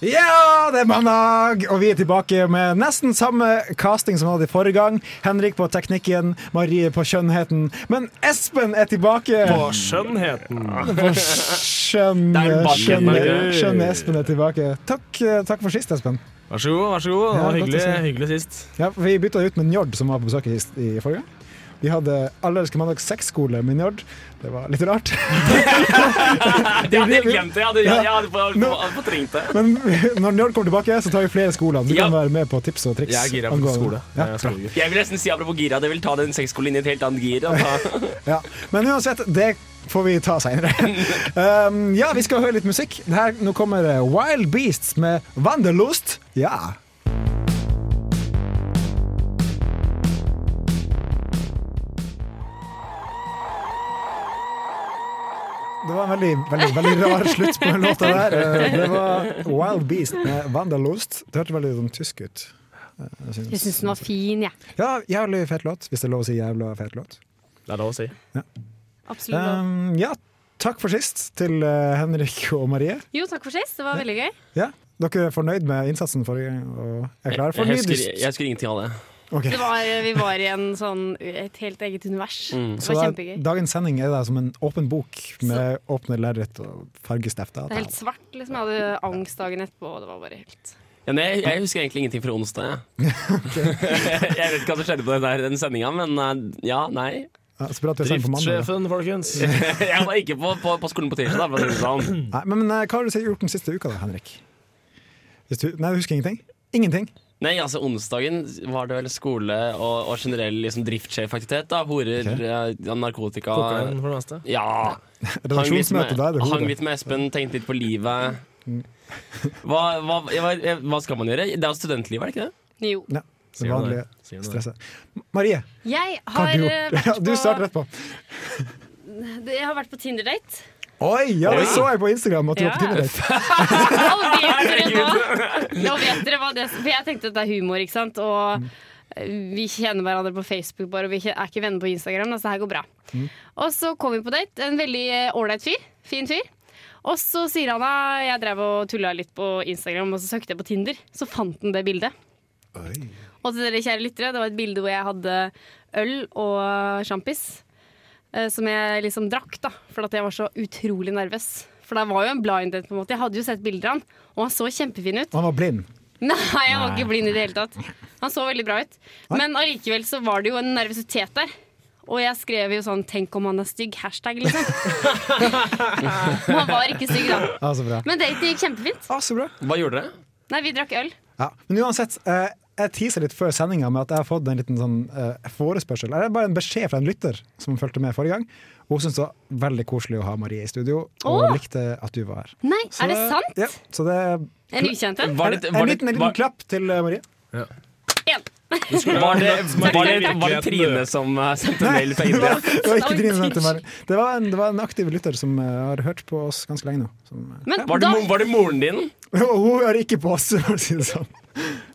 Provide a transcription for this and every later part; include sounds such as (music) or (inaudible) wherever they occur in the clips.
Ja, det er mandag, og vi er tilbake med nesten samme casting som vi hadde i forrige gang. Henrik på teknikken, Marie på skjønnheten. Men Espen er tilbake! På skjønnheten. På skjønn, Der bak skjønne, Henrik. skjønne Espen er tilbake. Takk, eh, takk for sist, Espen. Vær så god. vær så god Det Ja, var godt hyggelig, å se. hyggelig sist. Ja, for vi bytta ut med Njord, som var på besøk i, i forrige gang. Vi hadde Alle elsker mandag sexskole med Njord. Det var litt (laughs) rart. Det hadde jeg glemt. Jeg hadde, jeg hadde for- Nå- hadde fortrengt det. Men når Njord kommer tilbake, så tar vi flere skoler. Du Ja. kan være med på tips og triks. Jeg er gira på angående- skole. Eh, Ja, Jeg er bra. skolegutt. Jeg vil nesten si apropos gira, det vil ta den sexskolen inn i et helt annet gir. og ta- Ja. Men uansett, det får vi ta seinere. Um, ja, vi skal høre litt musikk. Det Her, nå kommer eh, Wild Beasts med Wanderlust. Ja. Det var en veldig, veldig, veldig rar slutt på den låta der. Eh, Det var Wild Beast med Wanderlust. Det hørtes veldig sånn tysk ut. Eh, Jeg syns den var fin, jeg. Ja. Ja, jævlig fet låt, hvis det er lov å si jævla fet låt. Det er lov å si. Absolutt. Um, ja, takk for sist til eh, Henrik og Marie. jo, takk for sist. Det var veldig gøy. Ja, dere er fornøyd med innsatsen forrige gang og er klare for Jeg ny husker, dyst? jeg husker ingenting av det. Ok, Det var, vi var i en sånn, et helt eget univers. Det Mm. så da- var kjempegøy. dagens sending er da som en åpen bok med åpne lerret og fargestifter. Det er helt svart. liksom Jeg hadde angst dagen etterpå. Og det var bare helt Ja, nei, jeg, jeg husker egentlig ingenting fra onsdag. (laughs) jeg. (laughs) jeg vet ikke hva som skjedde på den, der- den sendinga, men eh, ja, nei. (laughs) Ja, så bra at vi sender på mandag. da. Driftssjefen, folkens. Jeg var ikke på, på, på skolen på tirsdag. Da, for å si det sånn. Nei, men, men eh, hva har du gjort den siste uka da, Henrik? Hvis du, nei, du husker ingenting? Ingenting? Nei, altså Onsdagen var det vel skole og, og generell liksom, driftssjefaktivitet. da. Horer, Ok. eh, narkotika Kokain for det meste. Ja. Hang litt med, Redaksjonsmøte, da er det Mm. hang hodet. litt med Espen, tenkte litt på livet. Hva, hva, ja, hva, ja, hva skal man gjøre? Det er jo studentlivet, er det ikke det? Jo. Ja, det Sier han det. vanlige Sier han det. stresset. Marie, Jeg hva har har, du eh, gjort? (laughs) vært Ja, på, du starter rett på. jeg har vært på Tinder-date. Oi, ja, Oi. det så jeg på Instagram at du Ja. var på Tinder-date. Nå vet dere hva! Nå vet dere hva det For jeg tenkte at det er humor, ikke sant. Og eh, vi kjenner hverandre på Facebook bare, og vi er ikke venner på Instagram, så det her går bra. Og så kom vi på date. En veldig eh, ålreit fyr. Fin fyr. Og så sier han at jeg drev og tulla litt på Instagram, og så søkte jeg på Tinder. Så fant han det bildet. Og til dere kjære lyttere, det var et bilde hvor jeg hadde øl og sjampis. eh, Som jeg liksom drakk, da, for at jeg var så utrolig nervøs. For det var jo en blind date, på en måte. Jeg hadde jo sett bilder av han, og han så kjempefin ut. (laughs) Og han var blind. Nei, han var ikke blind i det hele tatt. Han så veldig bra ut. Men allikevel så var det jo en nervøsitet der. Og jeg skrev jo sånn 'tenk om han er stygg', hashtag, liksom. (laughs) Men han var ikke stygg, da. Ja, så bra. Men daten gikk kjempefint. Ja, så bra. Hva gjorde dere? Nei, vi drakk øl. Ja. Men uansett, eh, jeg teaser litt før sendinga med at jeg har fått en liten sånn eh, forespørsel. Eller bare en beskjed fra en lytter som fulgte med forrige gang. Og Hun syntes det var veldig koselig å ha Marie i studio, og Åh! likte at du var her. Nei, Så- er det sant? Ja, så det er En ukjent en? Var det, en var det, liten, en liten var, klapp til eh, (laughs) Marie. En. var det, Takk, var det, takk, takk. var det Trine som eh, sendte mail (laughs) fra det India? var, det var ikke Oi, Trine som unnskyld. heter Marie. Det var, en, det var en aktiv lytter som eh, har hørt på oss ganske lenge nå. Som, eh, Men Var det, da, mo- var det moren din? (laughs) og hun hører ikke på oss, for å si det sånn.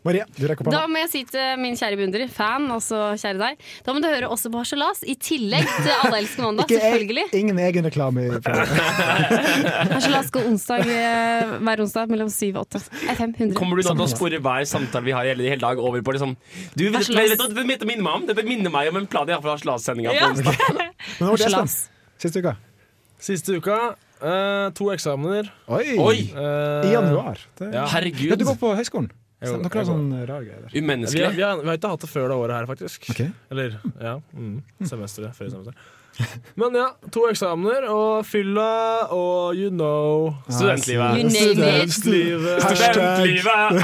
Marie, du rekker opp da hånda. må jeg si til min kjære beundrer, fan, også kjære deg, da må du høre også på Harselas, i tillegg til Alle elsker mandag, Ikke e- selvfølgelig. ingen egen reklame. i programmet. Harselas går onsdag eh, hver onsdag mellom 7 og 8. FM 100. Kommer du nå til å spore hver samtale vi har hele, hele dag over på liksom du, vet, Harselas. vet, vet, du hva dette minner meg om? Dette minner meg om en plan jeg har fra Harselas-sendinga. på Ja. onsdag. Men nå var det Espen. Harselas. Siste uka. Siste uka eh, to eksamener. Oi! Oi! Eh, I januar. Det... Ja. Herregud. Ja, du går på høyskolen. Jeg Stemmer, går- Dere har jeg går. sånn rar greie der. Vi, har- Umenneskelig. vi, har, vi har ikke hatt det før det året her, faktisk. Ok. Eller ja. Mm, semesteret. Før semesteret. Men ja, to eksamener og fylla og you know. Studentlivet. You name it. Studentlivet. Studentlivet!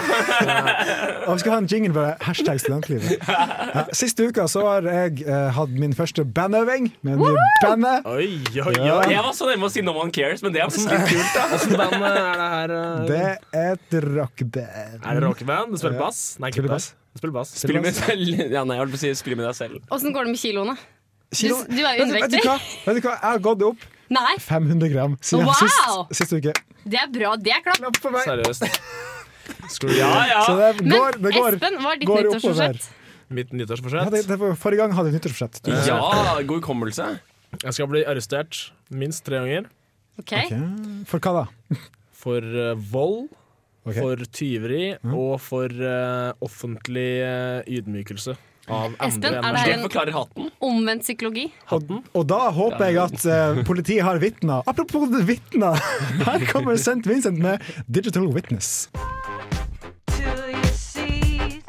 Og vi skal ha en jingle bare hashtag (laughs) studentlivet. Ja, siste uka så har jeg eh, hatt min første bandøving med en ny bandet. Oi, oi, Ja. oi. Jeg var så nærme å si No One Cares, men det (laughs) er plutselig kult. da Åssen band eh, er det her? eh? Det er et rockeband. Er det rockeband? Du spiller bass? Nei, ikke Spiller bass. bass. Du spiller bass. Spiller med, ja, nei, jeg holdt på å si, spiller med deg selv. Åssen går det med kiloene? Kilo- Du- du er Vet Vet jo undervektig. du hva? Vet du hva? Jeg har gått opp Nei, 500 gram siden Wow! sist, sist uke. det er bra. Det er klart. Klapp for meg. Seriøst. Skulle Ja, ja. Så det Men går, det går, Espen, hva er ditt går nyttårsforsett? oppover. Mitt Ja, det, nyttårsforsett? det var, forrige gang hadde jeg nyttårsforsett. Du- Ja, god hukommelse. Jeg skal bli arrestert minst tre ganger. Ok, Ok. For hva da? For eh, vold, Ok. Mm. for tyveri og for eh, offentlig eh, ydmykelse av andre Espen, er enn det meg. her Det en- forklarer hatten. Omvendt psykologi. Og, og da håper jeg at eh, politiet har vitner. Apropos vitner, (laughs) her kommer St. Vincent med 'Digital Witness'. to your seat.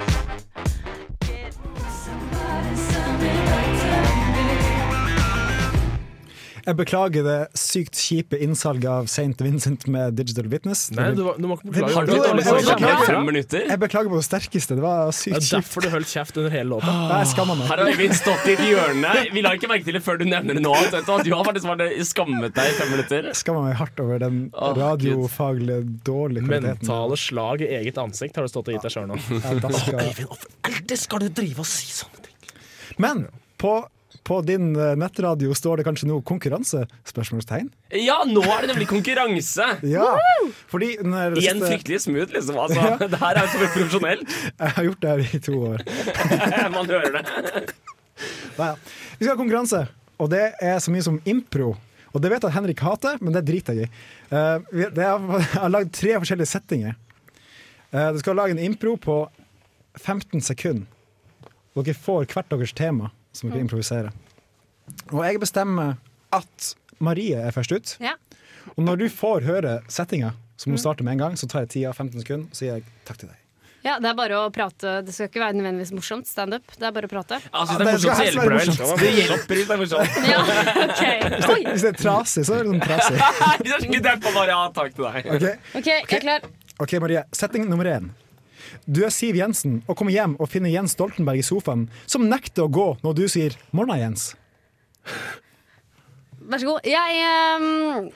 Get somebody, something like to me. Jeg beklager det sykt kjipe innsalget av St. Vincent med 'Digital Witness'. Nei, du, var- du må ikke Det- beklage. har Har du du litt dårlig samvittighet? dårlig samvittighet? Beklager. beklager. Fem minutter. Jeg beklager på det sterkeste. Det var Det sykt er kjipt. derfor du holdt kjeft under hele låta. Nei, Jeg skammer meg. Her har Øyvind stått i et hjørne. Vi la ikke merke til det før du nevner det nå. Vet du. hva? Du har faktisk bare skammet deg i fem minutter. Jeg skammer meg hardt over den Åh, radiofaglige dårlige kvaliteten. Mentale slag i eget ansikt har du stått og gitt deg sjøl nå. Ja, da skal... Alltid skal du drive og si sånne ting! Men på, på din eh, nettradio står det kanskje nå 'konkurranse'? Spørsmålstegn? Ja, nå er det nemlig konkurranse. Ja! Fordi når Igjen fryktelig smooth, liksom. Altså, (laughs) det her er jo så profesjonelt. (laughs) Jeg har gjort det her i to år. Man hører det. Nei, ja. Vi skal ha konkurranse, og det er så mye som impro. Og det vet jeg at Henrik hater, men det driter jeg i. Eh, vi- det er, jeg har lagd tre forskjellige settinger. Eh, du skal lage en impro på 15 sekunder. Og dere får hvert deres tema som dere improviserer. Og jeg bestemmer at Marie er først ut. Ja. Og når du får høre settinga, så må du starte med en gang, så tar jeg tida 15 sekunder, og sier jeg takk til deg. ja, det er bare å prate. Det skal ikke være nødvendigvis morsomt. Standup. Det er bare å prate. Altså, hvis det er morsomt, så hjelper det vel. Det hjelper hvis det er morsomt. Ja, (laughs) ok. Oi. Hvis det er trasig, så er det sånn trasig. (laughs) Nei, det er så ikke dempa bare. Ja, takk til deg. Ok? Ok, jeg er klar. Ok, Marie. Setting nummer én. Du er Siv Jensen og kommer hjem og finner Jens Stoltenberg i sofaen, som nekter å gå når du sier 'morna, Jens'. Vær så god. Jeg ehm,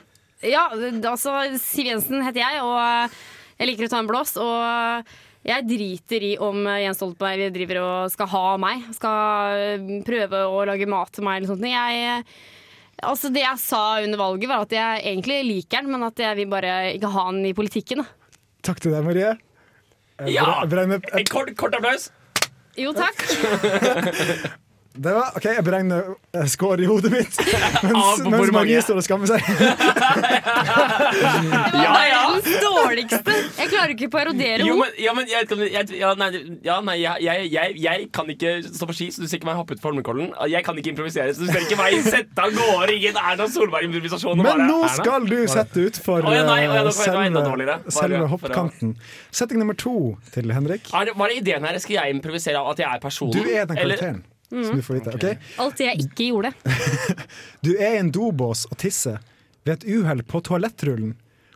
Ja, altså Siv Jensen heter jeg, og jeg liker å ta en blås. Og jeg driter i om Jens Stoltenberg driver og skal ha meg. Skal ehm, prøve å lage mat til meg eller sånt. Jeg, altså det jeg sa under valget, var at jeg egentlig liker han, men at jeg vil bare ikke ha han i politikken. Da. Takk til deg, Marie. Eh, Ja! bra- bra- med- eh, En kort, kort applaus. Jo takk. Det var, ok, Jeg beregner eh, score i hodet mitt, mens, Av hvor mens Marie mange? står og skammer seg. (laughs) Det var verdens dårligste. Jeg klarer ikke å parodiere Jo, henne. men, ja, men jeg, kan- jeg, ja, nei, ja, nei jeg, jeg, jeg, jeg kan ikke stå på ski, så du ser ikke meg hoppe ut på Holmenkollen. Jeg kan ikke improvisere, så du (laughs) ser ikke meg sette av gårde i en Erna Solberg-improvisasjon. og Men bare- nå Erna? skal du sette utfor Å, ja, nei, å, ja, eh, nå får jeg- det var enda selve, dårligere. Bare- selve bare- hoppkanten. Setting nummer to til Henrik. er det, Hva er ideen her? Skal jeg improvisere av at jeg er Du personen? er den Eller- Mm. karakteren. Som du får vite. ok? Alt det jeg ikke gjorde. Du er i en dobås og tisser ved et uhell på toalettrullen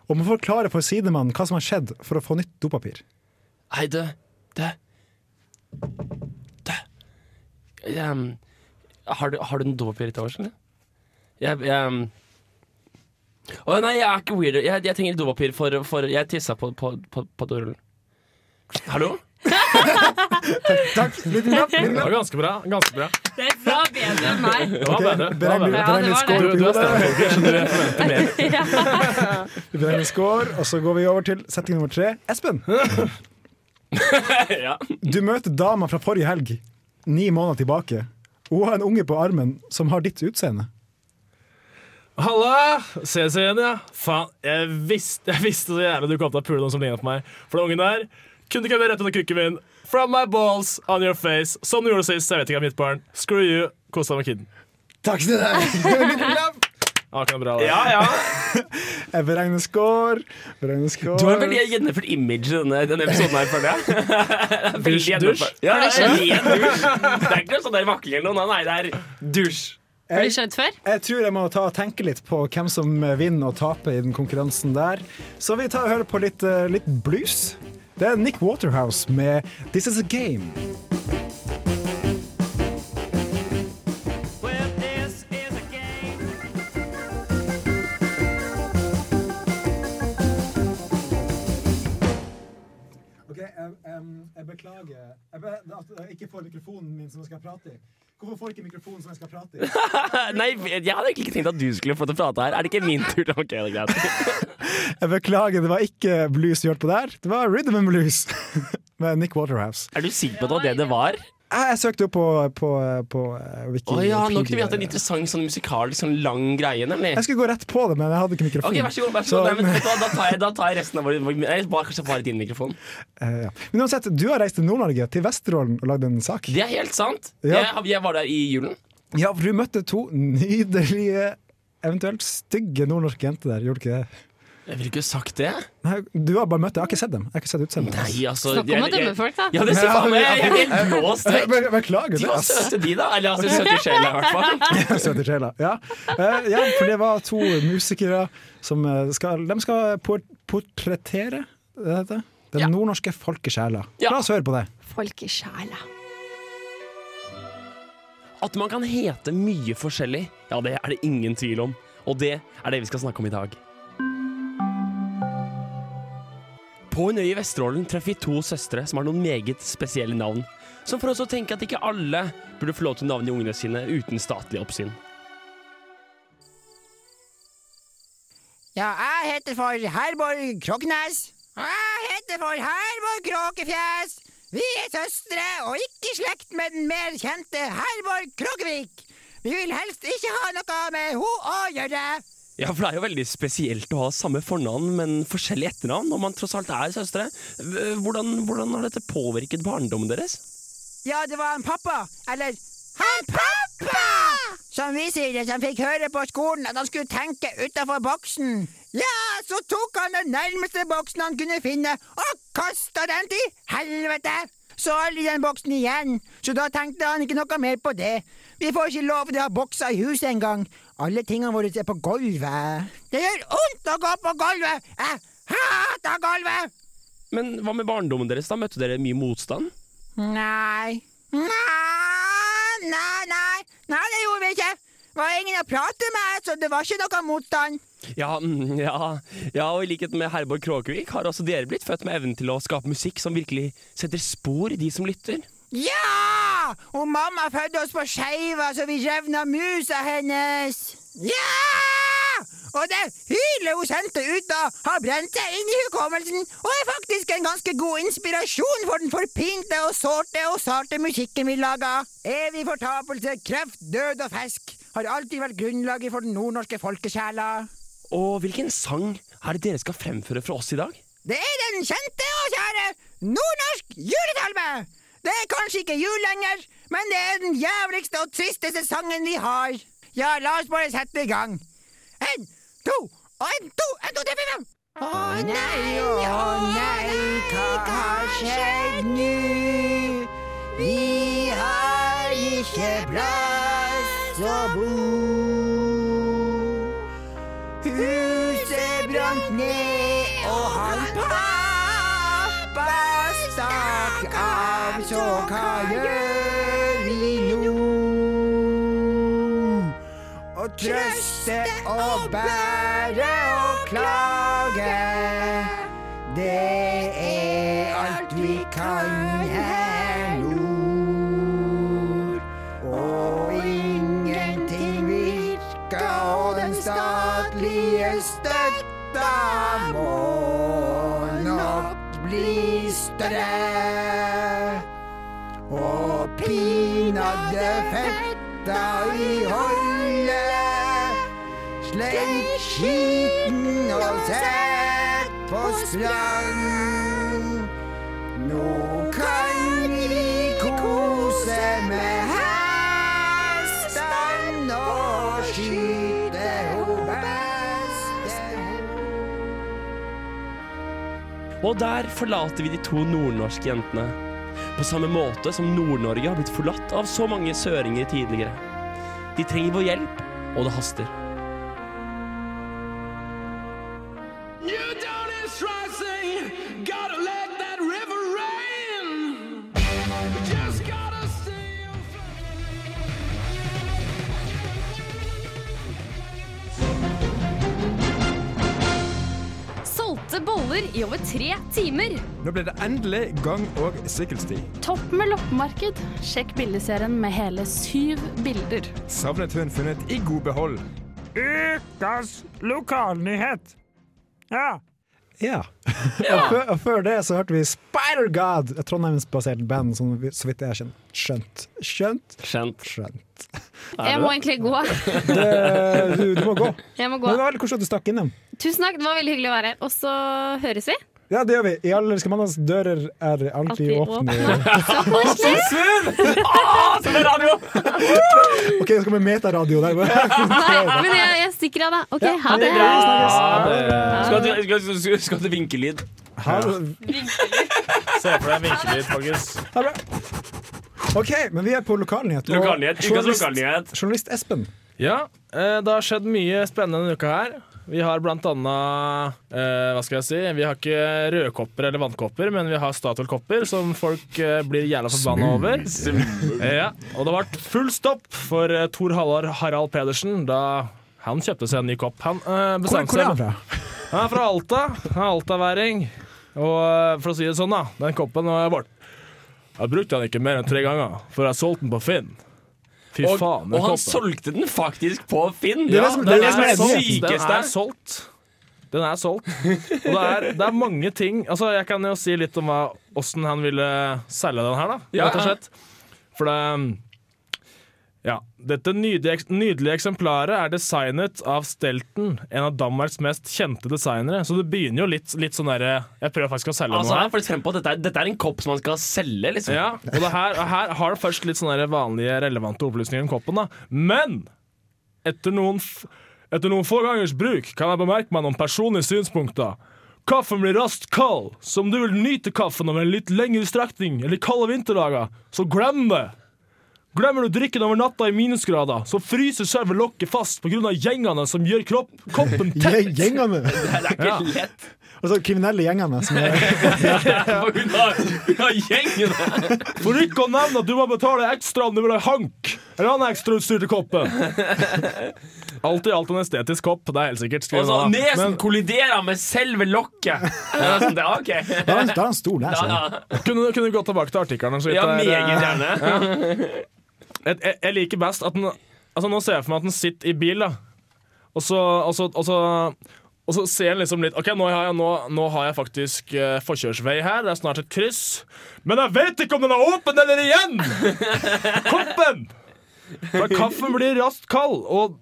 og må forklare for sidemannen hva som har skjedd for å få nytt dopapir. Nei, du Du Du Ehm, har, du har du en dopapir til overs, eller? Jeg, jeg ehm, Å nei, jeg er ikke weirder. Jeg, jeg trenger dopapir for, for Jeg tissa på, på, på, på dorullen. Hallo? Takk. Litt knapp. Det var ganske bra. ganske bra Det var bedre enn meg. Det var bedre. Det var Beregn bedre. Ja, det beregn litt var det. score Du, oppi du er (laughs) hodet. sterk. Jeg skjønner du forventer mer. Vi beregner score, og så går vi over til setting nummer tre. (laughs) Espen, ja. du møter dama fra forrige helg, ni måneder tilbake. Hun har en unge på armen som har ditt utseende. Halla! Ses igjen, ja. Faen, jeg visste, jeg visste så jævlig du kom til å pule noen som lignet på meg. For den ungen der kunne ikke være rett under krykken min. From my balls, on your face. Som du gjorde sist. Jeg vet ikke, jeg er mitt barn. Screw you. Kos deg med kiden. Takk til (laughs) deg! Ah, ikke noe bra, da. ja, ja. Jeg beregner score. Beregner score. Du har veldig gjennomført image i denne, denne episoden her, føler jeg. (laughs) Det er Dusj, veldig dusj. gjennomført. Ja, Har det ja, ja, dusj. Det er ikke noe sånn der vakling eller noe. Nei, det er dusj. Har du skjønt før? Jeg tror jeg må ta og tenke litt på hvem som vinner og taper i den konkurransen der. Så vi tar og hører på litt, eh, litt blues. Det er Nick Waterhouse med 'This Is A Game'. Well, this is a game. altså, jeg, beklager at jeg ikke får mikrofonen min som jeg skal prate i. Hvorfor får ikke mikrofonen som jeg skal prate i? (laughs) Nei, jeg hadde egentlig ikke tenkt at du skulle få til å prate her. Er det ikke min tur? (laughs) Ok, det er greit. Jeg beklager, det var ikke blues du hørte på der. Det var rhythm and blues (laughs) med Nick Waterhouse. Er du sikker på at det var det det var? Jeg, jeg søkte opp på, på, på eh, Wiki. Å ja, Wikipedia. nå kunne vi hatt en interessant sånn musikalsk, sånn lang greie, nemlig. Jeg skulle gå rett på det, men jeg hadde ikke mikrofon. Ok, vær så god. vær så god Nei, men, vet du hva, da, tar jeg, da tar jeg resten av vår Nei, bare, Kanskje bare din mikrofon. Eh, ja. Men uansett, du har reist til Nord-Norge, til Vesterålen, og lagd en sak. Det er helt sant. Ja. Jeg, jeg var der i julen. Ja, for du møtte to nydelige, eventuelt stygge nordnorske jenter der, gjorde du ikke det? Jeg ville ikke sagt det. Nei, du har bare møtt dem, jeg har ikke sett dem. Jeg har ikke sett utseendet. Nei, altså Snakk om å dømme folk, da. Ja, det ser faen meg Jeg er helt blåst Jeg vekk. be- Beklager De det, var ass. søte, de, da. Eller (laughs) altså søte i sjela, i hvert fall. Søte sjela. Ja. Eh, ja, for det var to musikere som eh, skal De skal por- portrettere, er det det? heter? Den Ja. nordnorske folkesjela. Ja. La oss høre på det. Folkesjela. At man kan hete mye forskjellig, ja, det er det ingen tvil om. Og det er det vi skal snakke om i dag. På en øy i Vesterålen treffer vi to søstre som har noen meget spesielle navn. Som får oss å tenke at ikke alle burde få lov til å navne ungene sine uten statlig oppsyn. Ja, jeg heter for Herborg Kroknes. Og jeg heter for Herborg Kråkefjes. Vi er søstre og ikke i slekt med den mer kjente Herborg Kråkevik. Vi vil helst ikke ha noe med ho å gjøre. Ja, for det er jo veldig spesielt å ha samme fornavn, men forskjellig etternavn, når man tross alt er søstre. Eh, Hvordan, hvordan har dette påvirket barndommen deres? Ja, det var en pappa, eller han pappa! Som vi sier det, som fikk høre på skolen at han skulle tenke utafor boksen. Ja, så tok han den nærmeste boksen han kunne finne, og kasta den til helvete! Så aldri den boksen igjen, så da tenkte han ikke noe mer på det. Vi får ikke lov til å ha bokser i huset engang. Alle tingene våre er på gulvet. Det gjør vondt å gå på gulvet! Jeg hater gulvet! Men hva med barndommen deres? da? Møtte dere mye motstand? Nei. Nei, nei, nei. Nei, det gjorde vi ikke. Det var ingen å prate med, så det var ikke noe motstand. Ja, mm, ja, ja, og i likhet med Herborg Kråkevik har også dere blitt født med evnen til å skape musikk som virkelig setter spor i de som lytter. Ja! Og mamma fødte oss på skeiva, så vi revna musa hennes. Ja! Og det hylet hun sendte ut da, har brent seg inn i hukommelsen og er faktisk en ganske god inspirasjon for den forpinte og sårte og sarte musikken vi laga. Evig fortapelse, kreft, død og fisk har alltid vært grunnlaget for den nordnorske folkesjela. Og hvilken sang er det dere skal fremføre for oss i dag? Det er den kjente og kjære nordnorsk julesalme! Det er kanskje ikke jul lenger, men det er den jævligste og tristeste sangen vi har. Ja, la oss bare sette i gang. En, to, og en, to, en, to, tre, fire, fem. Å nei, å nei, hva har skjedd nu? Vi har ikke plass å bo. Huset brant ned, og han pappa stakk av. Så hva gjør vi nå? Å trøste og bære og klage, det er alt vi kan her nord. Og ingenting virka, og den statlige støtta må nok bli større. Og pinadø fetta i holdet, slengt skiten og sett på sprang. Nå kan vi kose med hesten og skyte ho beste. Og der forlater vi de to nordnorske jentene. På samme måte som Nord-Norge har blitt forlatt av så mange søringer tidligere. De trenger vår hjelp, og det haster. Solgte åtte boller i over tre timer. Nå ble det endelig gang- og sykkelsti. Topp med loppemarked. Sjekk bildeserien med hele syv bilder. Savnet hun funnet i god behold. Ukas lokalnyhet. Ja. Ja. og, før, og før det så hørte vi Spider God, et trondheimsbasert band som vi- så vidt jeg har skjønt. Skjønt. Skjønt. Skjønt. skjønt. Jeg må egentlig gå. Det, eh, du, du må gå. Jeg må Men gå. det var veldig koselig at du stakk innom. Tusen takk, det var veldig hyggelig å være her. Og så høres vi. Ja, det gjør vi. I alle mandags dører er alltid Alltid åpne. Så koselig! OK, det skal bli metaradio der. Nei, men jeg, jeg stikker av, da. OK, ha det. Skal du, skal, skal, skal du vinkelyd? Ha det. Se for deg en vinkelyd, faktisk. Ha det bra. OK, men vi er på lokalnyhet. og Lokalnyhet. Ukas journalist- lokalnyhet. Journalist Espen. Ja, eh, det har skjedd mye spennende denne uka her. Vi har blant annet eh, Hva skal jeg si? Vi har ikke rødkopper eller vannkopper, men vi har Statoil-kopper som folk eh, blir jævla forbanna over. Eh, ja. Og det ble full stopp for eh, Tor Hallar Harald Pedersen da han kjøpte seg en ny kopp. Han eh, Hvor, Sånn, bestemte hvor er han seg fra? Han er fra Alta. Han er altaværing. Og eh, for å si det sånn, da. Den koppen var vårt. Jeg brukte den ikke mer enn tre ganger, for jeg solgte den på Finn. Fy Og, faen, den og han koppen. solgte den faktisk på Finn! Det er det som- det er det som er som er det sykeste. Den er solgt. Den er solgt. Og det er, det er mange ting Altså, jeg kan jo si litt om hva- åssen han ville selge den her, da. Ja, rett og ja. slett. For det Ja. Dette nydelige, eks- nydelige eksemplaret er designet av Stelten, en av Danmarks mest kjente designere. Så det begynner jo litt, litt sånn derre Jeg prøver faktisk å selge Altså, noe han her. er faktisk frem på at dette er, dette er en kopp som han skal selge, liksom. Ja, og det her, og her har det først litt sånne der vanlige relevante opplysninger om koppen, da. Men etter noen, f etter noen få gangers bruk kan jeg bemerke meg noen personlige synspunkter. Kaffen blir raskt kald, så om du vil nyte kaffen over en litt lengre strekning eller kalde vinterdager, så glem det! Glemmer du drikken over natta i minusgrader, så fryser selve lokket fast pga. gjengene som gjør kropp, koppen tett. Gje- Gjengene. (laughs) Det er ikke lett. Altså kriminelle gjengene. Som er, (laughs) For Hun har, hun har gjengen! For ikke å nevne at du må betale ekstra om du vil ha hank eller annen ekstrautstyr til koppen. (laughs) Alt i alt en estetisk kopp, det er helt sikkert. Og skriver så han da. nesen kolliderer med selve lokket. Ja, (laughs) sånn, det er ok. da er han- da er han stor der. Ja, Så. ja. Kunne, kunne du gått tilbake til artikkelen? så vidt Ja, det er, meget eh, gjerne. jeg, jeg, jeg liker best at den Altså Nå ser jeg for meg at den sitter i bil, da. Og så, og så, og så, og så ser den liksom litt OK, nå har jeg, nå, nå har jeg faktisk eh, forkjørsvei her. Det er snart et kryss. Men jeg vet ikke om den er åpen eller igjen! (laughs) Koppen! For kaffen blir raskt kald, og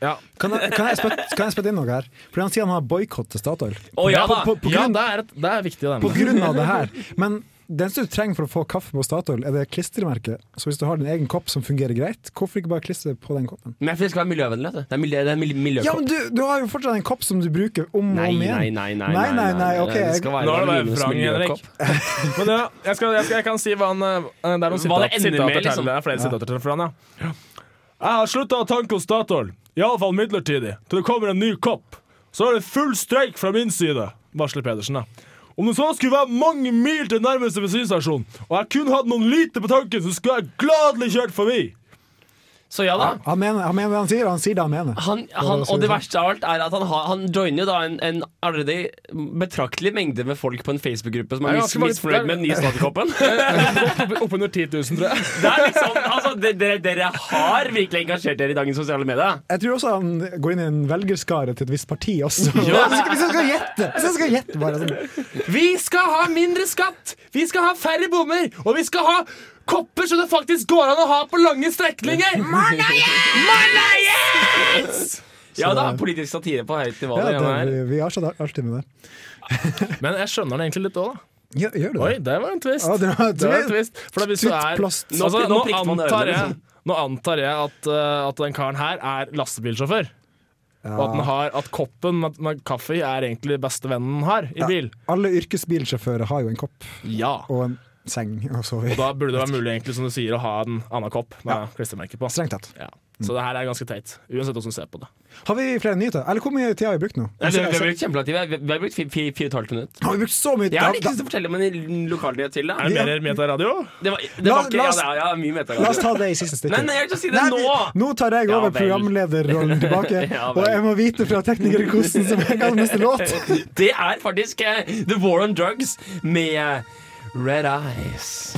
ja. Kan jeg, kan jeg spytte- kan jeg spytte inn noe her? Fordi Han sier han har boikottet Statoil. Å ja da. på, på, på, ja grunn, det, er, et- det er viktig, det. på grunn av det her. Men det eneste du trenger for å få kaffe på Statoil, er det klistremerket. Så hvis du har din egen kopp som fungerer greit, hvorfor ikke bare klistre på den koppen? Men jeg føler det skal være miljøvennlig. vet du. Det er, miljø, det er miljø, Ja, miljøkopp. men du, du har jo fortsatt en kopp som du bruker om Nei, og om nei, igjen. nei. nei, Nei, nei, nei, ok, Det jeg- skal være Nå er det bare Valines vrang, Henrik. miljøkopp. Men ja, jeg, skal, jeg, skal, jeg kan si hva han eh, Det er noen Hva sitater det ender sitater med, til. liksom. Det er flere sitater til fra han, ja. Jeg har slutta å tanke hos Statoil, iallfall midlertidig, til det kommer en ny kopp. Så er det full streik fra min side, varsler Pedersen. da. Om det så skulle være mange mil til nærmeste bensinstasjon, og jeg kun hadde noen liter på tanken, så skulle jeg gladelig kjørt forbi. Så ja da. Han mener, han mener det han sier, han sier det han mener. Han, han, og det verste av alt er at han, har, han joiner jo da en, en allerede betraktelig mengde med folk på en Facebook-gruppe som er Ja, mis, ganske mange- misfornøyd med den nye (laughs) Statoil-koppen. Oppunder 10 000, tror jeg. Det er liksom, altså, de- dere, dere har virkelig engasjert dere i dagens sosiale medier. Jeg tror også han går inn i en velgerskare til et visst parti også. (laughs) Hvis jeg skal gjette! Hvis jeg skal gjette bare sånn. Vi skal ha mindre skatt, vi skal ha færre bommer, og vi skal ha kopper som det faktisk går an å ha på lange strekninger! Ja, det er politisk satire på høyt nivå. Ja, det, det, det, vi, vi har sånn alltid med det. Men jeg skjønner den egentlig litt òg, da. Gjør, gjør du Oi, det? det var en twist. Ja, det var- Det var en twist. For da hvis du er Twittplast. Nå- altså, nå, Nå prikket man antar øret, jeg, nå antar jeg at, eh, at den karen her er lastebilsjåfør. Og at, den har, at koppen med, med kaffe i er egentlig bestevennen den har i bil. Alle yrkesbilsjåfører har jo en kopp Ja. og en seng å sove i. Da burde det være mulig egentlig, som du sier, å ha en annen kopp med klistremerke på. Strengt tatt. Ja. Så det her er ganske teit. Uansett hvordan du ser på det. Har vi flere nyheter? Eller hvor mye tid har vi brukt nå? Vi har brukt kjempelang tid. Vi har- Vi har brukt fi- fi- fire og et halvt minutt. Har vi brukt så mye Jeg har litt Da- lyst til å fortelle om en l- lokalnyhet til. Da. Er det mer metaradio? Det var, det var La- ikke, la ja, oss- det er, ja, mye mer La etter. oss ta det i siste stikk. Nei, nei, jeg har ikke lyst til å si det Nei, vi- nå! nå tar jeg over Ja vel. programlederrollen tilbake, (laughs) Ja og vel. jeg må vite fra tekniker Kosten som jeg kan neste låt. (laughs) Det er faktisk eh, The War on Drugs med eh, Red Eyes.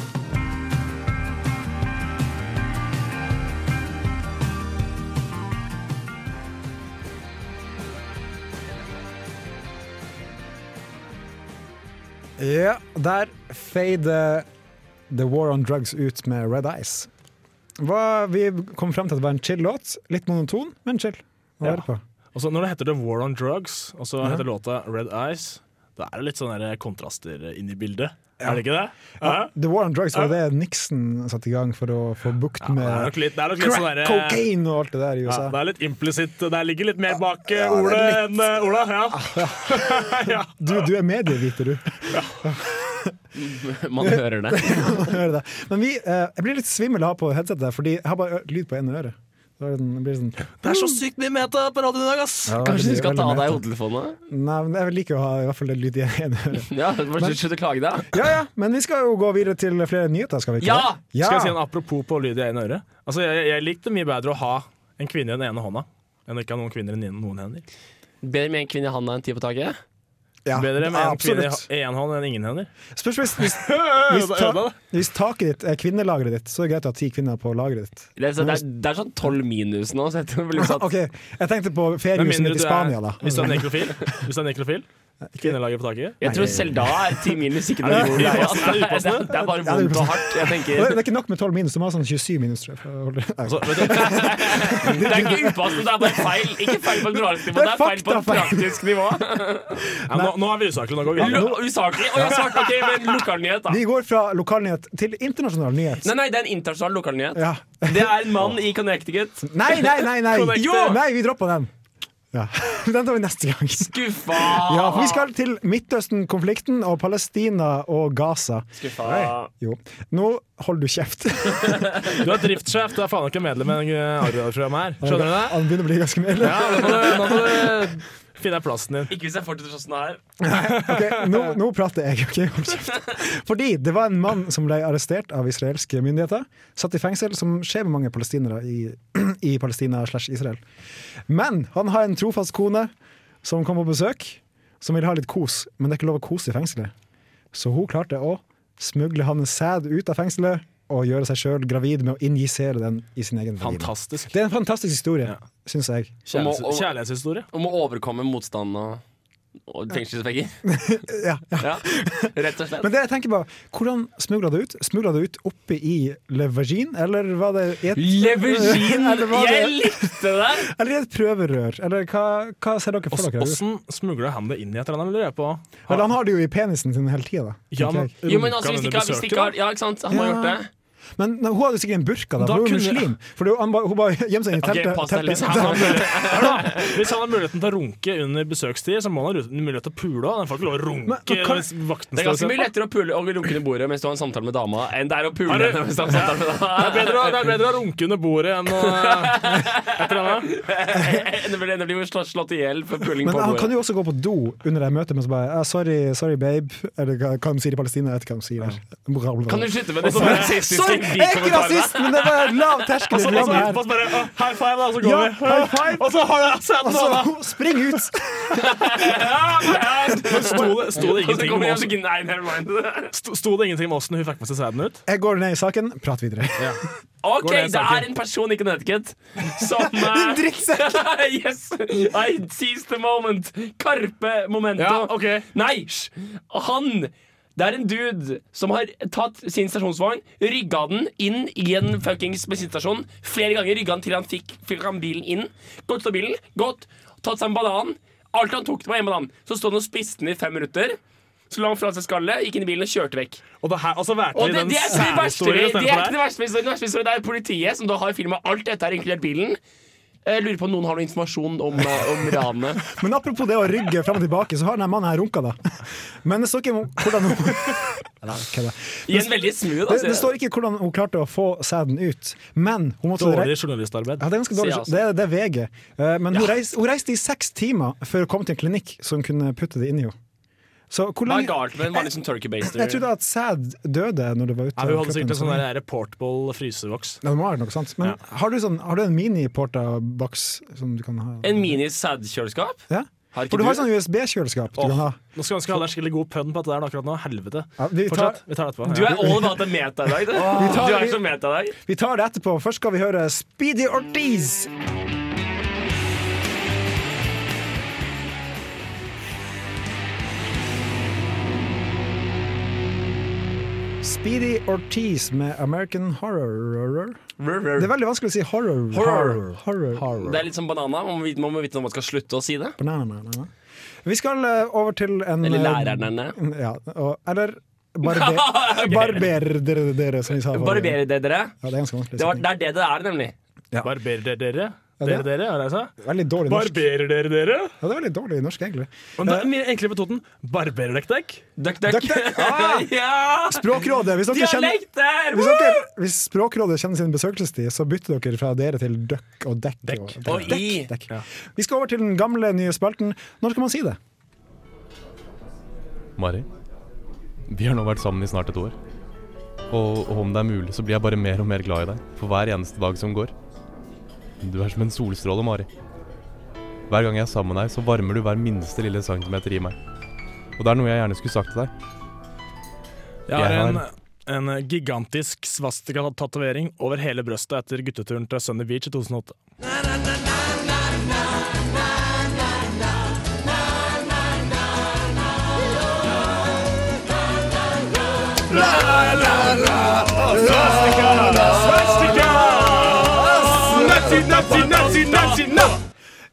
Ja, der fader The War on Drugs ut med Red Eyes. Hva, vi kom frem til at det var en chill låt. Litt monoton, men chill. å Ja. høre på. Og så når det heter The War on Drugs, og så heter låta Red Eyes, da er det litt sånne der kontraster inn i bildet. Er det ikke det? Ja. The War on Drugs var det Nixon satte i gang for å få bukt Det er med nok litt, det er nok litt sånn crack, derre- cocaine og alt det der i ja, USA. det er litt implisitt. Det ligger litt mer bak eh, det er ordet litt. Ah, enn eh, Ola. Ja. ja. Du, du er medieviter, du. (laughs) Man hører det. Hører det. Men vi, eh, jeg blir litt svimmel av på headsetet, fordi jeg har bare ø- lyd på ene øret. Så er det den- det blir sånn, (laughs) Det er så sykt mye meta på radioen i dag, ass! Kanskje du veldig- skal veldig ta av deg meta. hodetelefonene? Nei, men Jeg liker å ha i hvert fall det lyd i ene øret. (laughs) Ja, bare Slutt å klage, da. Ja, ja, men vi skal jo gå videre til flere nyheter, skal vi ikke Ja! det? Ja! Skal jeg si en apropos på lyd i ene øret? Altså, jeg, jeg likte mye bedre å ha en kvinne i den ene hånda enn å ikke ha noen kvinner i den- noen hender. Bedre med en kvinne i handa enn ti på taket. Ja, Bedre med en kvinne absolutt. i én hånd enn ingen hender. Spørs hvis, (laughs) hvis, hvis, Ødela ta, det. hvis taket ditt er kvinnelageret ditt, så er det greit å ha ti kvinner på lageret ditt. Det er, så, det er, det er sånn tolv minus nå. Så jeg tror (laughs) liksom det blir satt. Ok, Jeg tenkte på Med feriehuset mindre mitt i du Spania, er, da. hvis du er nekrofil. Hvis du (laughs) er nekrofil Kvinnelager på taket. Jeg tror selv da er ti minus ikke noe god greie. ass. Er det Det er, upassende? det er bare vondt og hardt. Jeg (laughs) Det tenker er ikke nok med 12 minus, du må ha sånn 27 minus. Tror jeg. for å holde- Nei. Altså, vet du, Det er ikke upassende, det er bare feil. Ikke feil på et moralsk nivå, Det er det er feil på et faktafeil. praktisk nivå. (laughs) ja, nå, nå er vi usaklige. Nå går vi videre. Lo- Usaklig. Å, jeg svarte ok, men lokalnyhet, da. Vi går fra lokalnyhet til internasjonal nyhet. Nei, nei, det er en internasjonal lokalnyhet. Ja. Det er en mann i Connecticut. Nei, nei, nei! nei. Connected. Jo! nei vi droppa den. Ja. (laughs) Den tar vi neste gang. Skuffa! Ja, for Vi skal til Midtøsten-konflikten og Palestina og Gaza. Skuffa. Jo, nå holder du kjeft. Du er driftssjef, du er faen ikke medlem i Arvidar-programmet her. Skjønner du det? Han begynner å bli ganske medlem. Ja, nå må du, nå må du finne deg plassen din. Ikke hvis jeg fortsetter sånn her. Ok, nå, nå prater jeg, ok? Hold (laughs) kjeft. Fordi det var en mann som ble arrestert av israelske myndigheter, satt i fengsel, som skjer med mange palestinere i, (clears throat) i Palestina slash Israel. Men han har en trofast kone som kom på besøk, som vil ha litt kos, men det er ikke lov å kose i fengselet. Så hun klarte å smugle hans sæd ut av fengselet og gjøre seg sjøl gravid med å injisere den i sin egen vagina. Fantastisk. Det er en fantastisk historie, Ja. syns jeg. Kjærlighets- Kjærlighetshistorie. Om å overkomme motstand og, og fengselsvegger. (laughs) Ja, ja. Ja, rett og slett. Men det jeg tenker på, hvordan smugla det ut? Smugla det ut oppe i Le Vagin, eller var det i et (laughs) Levergin! Eller var det- Jeg likte det! Eller i et prøverør? Eller hva, hva ser dere for dere? Åssen smugla han det inn i et eller annet? lurer jeg på. Vel, han har det jo i penisen sin hele tida, da. Ja, tenker men, jeg. Jo, men altså, hvis ikke, hvis ikke har, ja. ja, ikke sant? Han har Ja. gjort det. men nei, hun hadde sikkert en burka, da. Da for Hun er jo kunne- muslim. For det- han ba- hun bare gjemte seg inn i Ok, teltet. pass deg litt. teltet. Hvis han har muligheten til å runke under besøkstid, så må han ha ru- mulighet til å pule. også. Han får ikke lov å runke Men- men kan- hvis vakten Det er står og ganske ser mye sånn. på. lettere å pule og runke under bordet mens du har en samtale med dama, enn det er å pule Er det- henne mens du har en samtale med Det (laughs) dama. er, (laughs) bedre, å- det er bedre å runke under bordet enn å Et eller annet. Eh, Det blir- det blir jo slå- slått i hjel for (laughs) puling Men på han bordet. kan jo også gå på do under det møtet, men så bare ah, sorry, sorry, babe. Eller hva hva de sier i Palestina. Jeg vet ikke hva de sier der. Kan du slutte med det som Sorry, rasistiske jeg er ikke rasist, men det var lav terskel. i Altså, Så det landet her. bare, bare, bare å, high five, da, så går Ja, vi. high five. Og så har jeg sett Og noe, da. så spring ut! (laughs) Men sto det, sto det Og så ingenting om kommer jeg og åssen- sier nei, never mind. (laughs) sto- sto det ingenting om åssen hun fikk med seg sæden ut? Jeg går ned i saken, prat videre. OK, Går det en det sak er en person i Connecticut (laughs) som Din eh, drittsekk! (laughs) Yes! I seize the moment. Karpe momento. ok. Nei, hysj! Han Det er en dude som har tatt sin stasjonsvogn, rygga den inn i en fuckings bensinstasjon. Flere ganger rygga han til han fikk, fikk han bilen inn. Gått til bilen, gått, tatt seg en banan. Alt han tok, det var en banan. Så sto han og spiste den i fem minutter. Så la han fra seg skallet, gikk inn i bilen og kjørte vekk. Og det her, altså valgte Og de det, den det er ikke det verste sånn- særhistorien istedenfor Det er ikke det det verste med historien. Det verste med historien, Det er politiet som da har filma alt dette, her inkludert bilen. Jeg lurer på om noen har noe informasjon om, eh, (laughs) om ranet. Men apropos det å rygge fram og tilbake, så har denne mannen her runka, da. Men det står ikke hvordan (laughs) hun Nei, kødda. I en veldig smooth, det, altså. det står ikke hvordan hun klarte å få sæden ut, men hun måtte Dårlig journalistarbeid. ja, det er ganske Sier jeg dårlig. altså. også. Det, er- det er VG. Eh, Men hun, reiste, hun reiste i seks timer før hun kom til en klinikk som kunne putte det inni henne. Så hvor Hva er lenge galt med en vanlig sånn turkey baster? Jeg trodde at sæd døde når det var ute. Ja, hun av hadde kroppen, sikkert en så sånn lenge. der portable frysevoks. Ja, det må være noe sånt. Men Ja. har du, sånn, har du en mini-porta-boks som du kan ha? En mini-sædkjøleskap? Ja? Har ikke For du har du? sånn USB-kjøleskap du Åh. kan ha. Nå skal skal ha deg skikkelig god pønn på at det er akkurat nå. Helvete. Ja, vi, tar, Fortsett. Vi tar det etterpå. Du er all about the meta i dag, du. tar- Du er så meta i dag. vi tar det etterpå. Først skal vi høre Speedy Ortiz. Speedy Ortiz med American Horror. Det er veldig vanskelig å si horror. Horror. horror. Det er litt som banana. Man må vite, man må vite når man skal slutte å si det. Banana-banana. Vi skal eh, over til en Eller eh, lærerne. (laughs) Ja, og, eller barber, (laughs) Ok. barberer dere, dere, som vi sa. forrige. Barberer det dere. Ja, det er ganske vanskelig. Det, var, det er det det er, nemlig. Barberer dere dere? Ja, det Dere er- dere, er det jeg sa? Veldig dårlig norsk. Barberer dere dere? Ja, det er veldig dårlig norsk, egentlig. Men det er mye enklere metoden. Barberer dere dere? Duck, duck. Duck, (laughs) duck. Ah. ja! Språkrådet, hvis dere kjenner Dialekter! hvis, dere, hvis Språkrådet kjenner sin besøkelsestid, så bytter dere fra dere til døkk og dekk. Dekk. Og, Og i. dekk. Vi skal over til den gamle, nye spalten. Når skal man si det? Mari, vi har nå vært sammen i snart et år. Og, og om det er mulig, så blir jeg bare mer og mer glad i deg for hver eneste dag som går. Du er som en solstråle, Mari. Hver gang jeg er sammen med deg, så varmer du hver minste lille centimeter i meg. Og det er noe jeg gjerne skulle sagt til deg. Jeg har Jeg en, en gigantisk svastika-tatovering over hele brøstet etter gutteturen til Sunny Beach i 2008.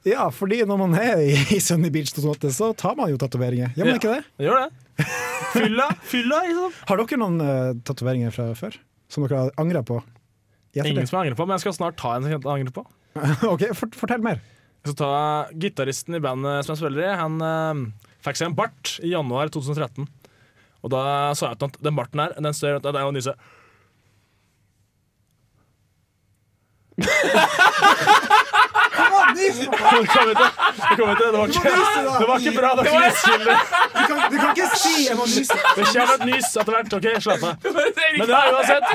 Ja, fordi når man er i, i Sunny Beach 2008, så tar man jo tatoveringer. Gjør man ikke det? (laughs) Gjør det. Fylla, fylla, liksom. Har dere noen uh, tatoveringer fra før som dere har angra på? i ettertid? Ingen som jeg angrer på, men jeg skal snart ta en som jeg angrer på. (laughs) OK, fort- fortell mer. Jeg skal ta gitaristen i bandet som jeg spiller i. Han eh, fikk seg en bart i januar 2013. Og da sa jeg til han at den barten her, den står Det er jo nyse. Ah, Det kom ikke, det kom ikke, det var ikke, det var ikke bra. Det var ikke nyskyldig. Du kan, du kan ikke si jeg må nyse! Det kommer et nys etter hvert. OK, slapp av. Men det Men er uansett.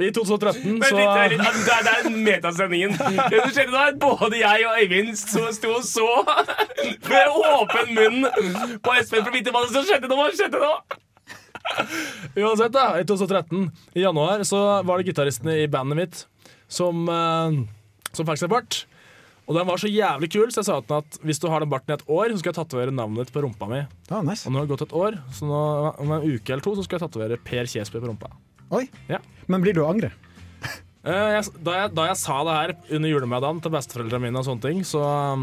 I 2013 Vent litt, vent så litt. Det er, det er metasendingen. Det som skjedde da, er at både jeg og Øyvind sto sto og så med åpen munn på Espen for å vite hva som skjedde nå. Hva skjedde nå? Uansett, da. I 2013, i januar, så var det gitaristene i bandet mitt som, eh, som fikk seg bart. Og den var så jævlig kul, så jeg sa til han at hvis du har den barten i et år, så skal jeg tatovere navnet ditt på rumpa mi. Ah, nice. Og nå har det gått et år, så nå, om en uke eller to så skal jeg tatovere Per Kjesby på rumpa. Oi. Ja. Men blir du å angre? Eh, jeg, da, jeg, da jeg sa det her under julemiddagen til besteforeldrene mine, og sånne ting, så, um,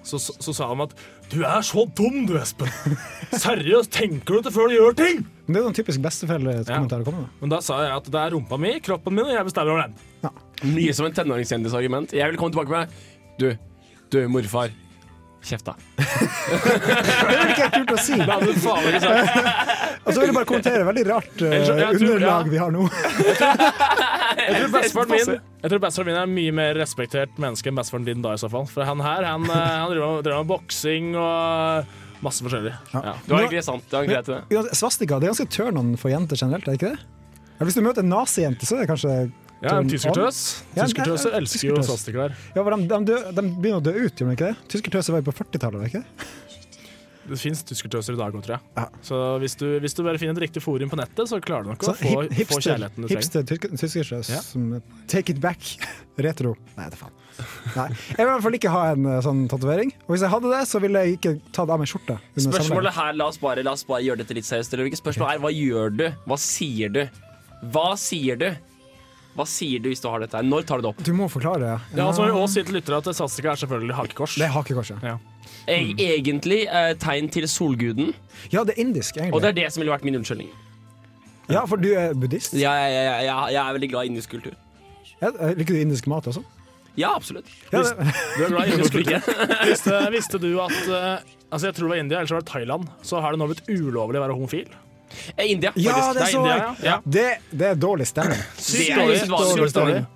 så, så, så sa de at Du er så dum, du, Espen! Seriøst, tenker du ikke før du gjør ting? Men Det er jo en typisk besteforeldrekommentar å komme med. Men da sa jeg at det er rumpa mi, kroppen min, og jeg bestemmer over den. Mye som en tenåringskjendis argument. Jeg vil komme tilbake med Du, du morfar. Kjeft, da. Det er ikke helt kult å si. Det hadde du faen ikke Og sagt. så vil Altså, jeg bare kommentere veldig rart eh, Jeg tror- jeg tror- underlag ja. vi har nå. Jeg tror bestefaren min, jeg tror bestefaren min er en mye mer respektert menneske enn bestefaren din da, i så fall. For han her, han, eh, han driver med- driver med boksing og masse forskjellig. Ja. Det var egentlig sant. Det var greit, det. Uansett, Svastika det er ganske turn on for jenter generelt, er det ikke det? Ja, hvis du møter en nazijente, så er det kanskje Ja, en tyskertøs. Ja, Tyskertøser det er- elsker jo tyskertøs. svastikaer. Ja, for de, de, dø, de begynner å dø ut, gjør de ikke det? Tyskertøser var jo på 40-tallet, var det ikke det? Det fins tyskertøser i dag òg, tror jeg. Ja. Så hvis du, hvis du bare finner et riktig forum på nettet, så klarer du nok Så å få, hip, få hipster, kjærligheten du trenger. hipster tysk- tyskertøs. Ja. som- Take it back. (laughs) Retro. Nei, det faen. Nei. Jeg vil i hvert fall ikke ha en eh, sånn tatovering. Og hvis jeg hadde det, så ville jeg ikke tatt av meg skjorta. under Spørsmålet her, la oss bare, la oss bare gjøre dette litt seriøst. Eller ikke? Spørsmålet er hva gjør du? Hva sier du? Hva sier du? Hva sier du hvis du har dette her? Når tar du det opp? samleie. Du må forklare. Ja, altså- og så må vi også si til lyttere at svastika er selvfølgelig hakekors. Det er hakekorset. E egentlig eh, tegn til solguden, Ja, det er indisk, og det egentlig. er det som ville vært min unnskyldning. Ja, for du er buddhist. Jeg, jeg, jeg, jeg, jeg er veldig glad i indisk kultur. Ja, liker du indisk mat også? Ja, absolutt. Ja, Visst- det- Du er glad i indisk kultur. (laughs) Visste, visste du at eh, Altså, jeg tror det var India, eller så var det Thailand. Så har det nå blitt ulovlig å være homofil. Eh, India, faktisk. Ja, det er så India, jeg! ja. Det, det er dårlig (clears throat) stemning. Det er dårlig. helt vanlig Sykt dårlig. stemning.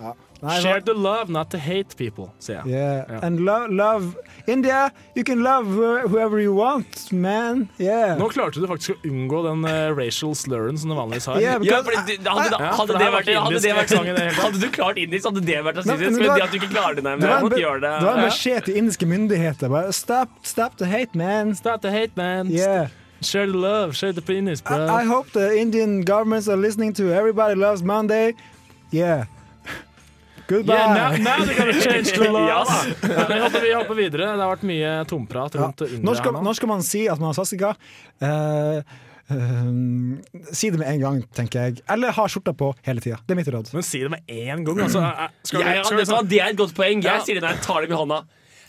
Nei, hva- Share the love, not to hate people, sier jeg. Yeah. And lo love India, you can love wh- whoever you want, man. Yeah. Nå klarte du faktisk å unngå den eh, racial slurren som du vanligvis har. Yeah, Ja, because- fordi det- hadde, det- Ja, for hadde, det det her var vært, ikke hadde, det indisk vært, sang i det hele tatt. hadde du klart indisk, hadde det Nei, vært men rasistisk. det Men var- det at du ikke klarer det, nei, det men var jeg en, måtte be- gjøre det. det var en Ja. beskjed til indiske myndigheter. Bare, stop, stop the hate, man. Start the hate, man. Yeah. Share the love, share the penis, bro. I, I hope the Indian governments are listening to Everybody Loves Monday. Yeah. (laughs) Goodbye. Yeah, now, now they're (laughs) gonna change the Ja, laws. da. Vi hopper, vi hopper videre. Det har vært mye tomprat Ja. rundt India Når, skal, nå. når skal man si at man har sassika? Eh, eh, si det med en gang, tenker jeg. Eller ha skjorta på hele tida. Det er mitt råd. Men si det med én gang, altså. er- er- Skal Jeg, vi, skal vet vi du hva, sånn det er et godt poeng. Jeg Ja. sier det når jeg tar dem i hånda.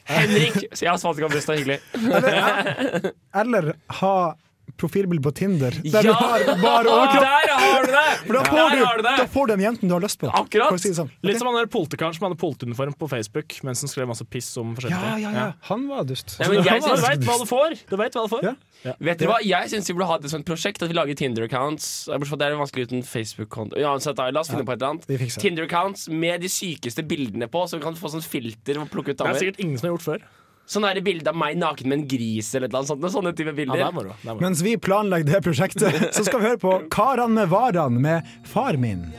Henrik! Så jeg har spansk adresse, det er hyggelig. (laughs) Eller ha profilbilde på Tinder. Der Ja. du har (laughs) bare Ah, overkropp. der har du det! For da får, Der har du, du det! da får du den jenten du har lyst på. Akkurat. For å Si det sånn. Litt som han der polterkaren som hadde polteruniform på Facebook mens han skrev masse piss om forskjellige Ja, ja, ja. Han var dust. (laughs) Nei, men jeg Du synes, veit hva du får! Du vet hva du får. Ja. vet dere hva? Jeg syns vi burde ha det som et prosjekt, at vi lager Tinder-accounts. Eh, Bortsett fra at Det er vanskelig uten Facebook-konto. Ja, uansett, da, la oss finne på et eller vi annet. fikser det. Tinder-accounts med de sykeste bildene på, så vi kan få sånn filter og plukke ut Det er damer. sikkert ingen som har gjort før. Sånn er det bilde av meg naken med en gris eller et eller annet sånt. Sånne Ja, type bilder. det er moro. det er moro. Mens vi planlegger det prosjektet, så skal vi høre på Karan med varan med Far min.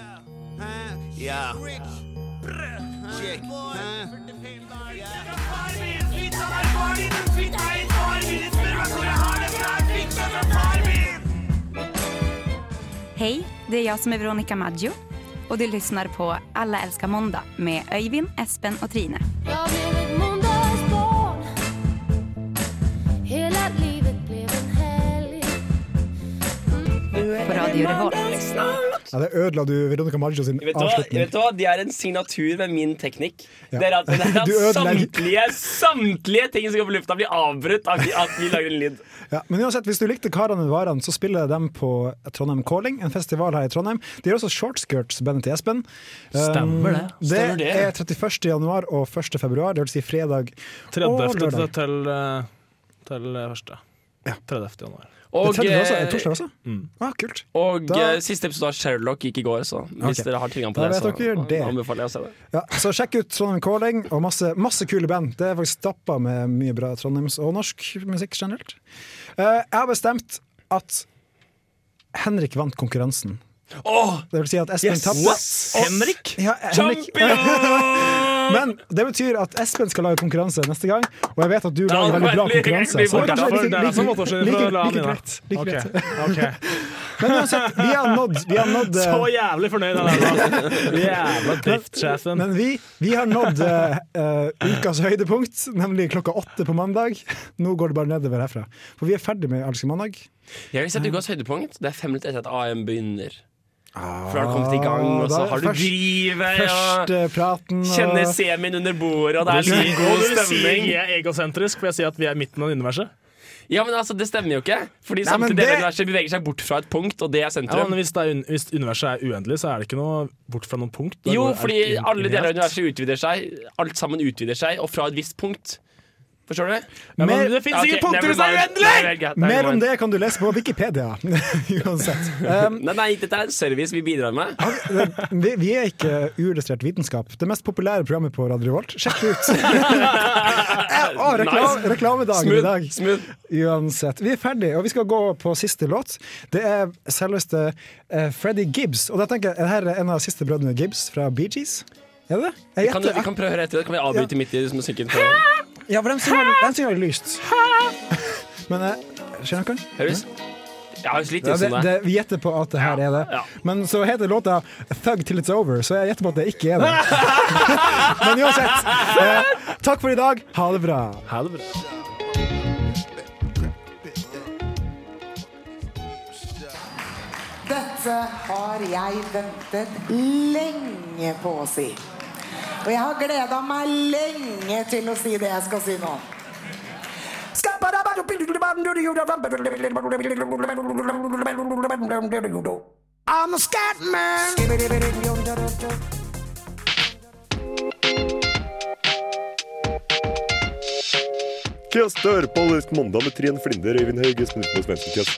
Hej, det är jag som är Veronica Maggio och du lyssnar på Alla älskar måndag med Öyvind, Espen och Trine. Jag blev ett måndagsbarn Hela livet blev en helg På Radio Revolt. Ja, det ødela du Veronica Maggio sin Vet du, hva, avslutning. vet du hva, Det er en signatur ved min teknikk. Ja. Det er at, det er (laughs) at Du ødelegger. samtlige, samtlige ting som går på lufta, blir avbrutt av at vi lager en lyd. Ja, men uansett, hvis du likte Karan med varan, så spiller de på Trondheim Calling, en festival her i Trondheim. De gjør også Shortskirts, bandet til Espen. Um, Stemmer det. Stemmer det det. er 31. januar og 1. februar, det vil si fredag og 30. til, lørdag. til, eh, til eh, første. 30. januar. Og, det er 30 også, er det eh, torsdag også? Ah, kult. og Da- eh, siste episode av Sherlock gikk i går, så hvis Ok. dere har tilgang på Da det, vet dere det. så anbefaler jeg å se det. Ja, så sjekk ut Trondheim Calling og masse, masse kule band. Det er faktisk stappa med mye bra trondheims- og norsk musikk generelt. Eh, jeg har bestemt at Henrik vant konkurransen. Åh, Det vil si at Espen tapte. Henrik? Ja, Henrik. (laughs) Men det betyr at Espen skal lage konkurranse neste gang, og jeg vet at du lager hadde veldig bra vært litt- konkurranse. litt Så det er borte, kanskje for det er sånn like- måte å skille like- fra la like- like han greit. like greit. (laughs) Ok. Men uansett, vi har nådd, vi har nådd eh, (laughs) Så jævlig fornøyd han er nå! Jævla driftsjefen. Men vi, vi har nådd eh, eh, ukas høydepunkt, nemlig klokka åtte på mandag. Nå går det bare nedover herfra. For vi er ferdig med Alske mandag. Jeg vil sette ukas høydepunkt. Det er fem minutter etter at AM begynner. For da har du kommet i gang, og Ah, da så er har du først- drivet og Første eh, praten og- kjenner semien under bordet, og det er litt god stemning. Jeg er egosentrisk, for jeg sier at vi er midten av universet. Ja, men altså, Det stemmer jo ikke. Fordi Nei, men samtidig det... det- universet beveger seg bort fra et punkt, og det er Ja, men sentrum. hvis, det er, un- hvis universet er uendelig, så er det ikke noe bort fra noen punkt. Da jo, går- er fordi det ikke alle deler av infinit. universet utvider seg. Alt sammen utvider seg, og fra et visst punkt. Forstår du? ja, men Mer- Det fins Ja, ok, ingen punkter never hvis det er mind. Nei, uendelig! vel, greit, never Mer om mind. det kan du lese på Wikipedia. (laughs) (laughs) Uansett. Um, Nei, nei, dette er en service vi bidrar med. (laughs) vi, vi er ikke uillustrert vitenskap. Det mest populære programmet på Radio Revolt. Sjekk det ut! Eh, å, rekla Nice. Reklamedagen i dag. Smooth. smooth. Uansett. Vi er ferdig, og vi skal gå på siste låt. Det er selveste eh, Freddie Gibbs. Og da tenker jeg, er det her er en av de siste brødrene Gibbs fra Bee Gees? Er det det? Jeg Kan, gjetter- vi kan prøve å høre etter det. Kan vi avbryte midt i det som musikken på. Ja, for de synger, de synger veldig lyst. (laughs) Men eh, skjønner dere? Høres? Jeg har jo slitt Ja, litt det, sånn det, det. vi gjetter på at det her er det. ja. Men så heter låta 'Thug Till It's Over', så jeg gjetter på at det ikke er (laughs) det. (laughs) Men uansett, eh, takk for i dag. Ha det bra. Ha det bra. Dette har jeg ventet lenge på å si. Og jeg har gleda meg lenge til å si det jeg skal si nå. I'm a scatman. Podcast Dørpål Øst Mandag med Trine Flinder, Øyvind Hauge, Espen Utmo og Svendsen Kjøs.